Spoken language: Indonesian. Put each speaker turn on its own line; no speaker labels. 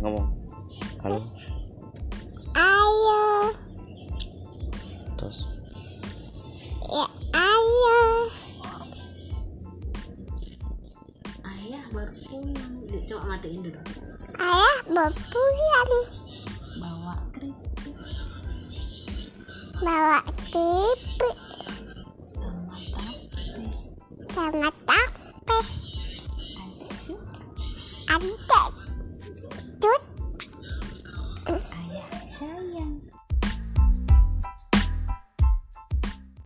ngomong halo
ayo
terus
ya ayo
ayah baru pulang Udah, coba matiin dulu
ayah berpulang
bawa keripik
bawa keripik
sama tape
sama tape
adik suka
ante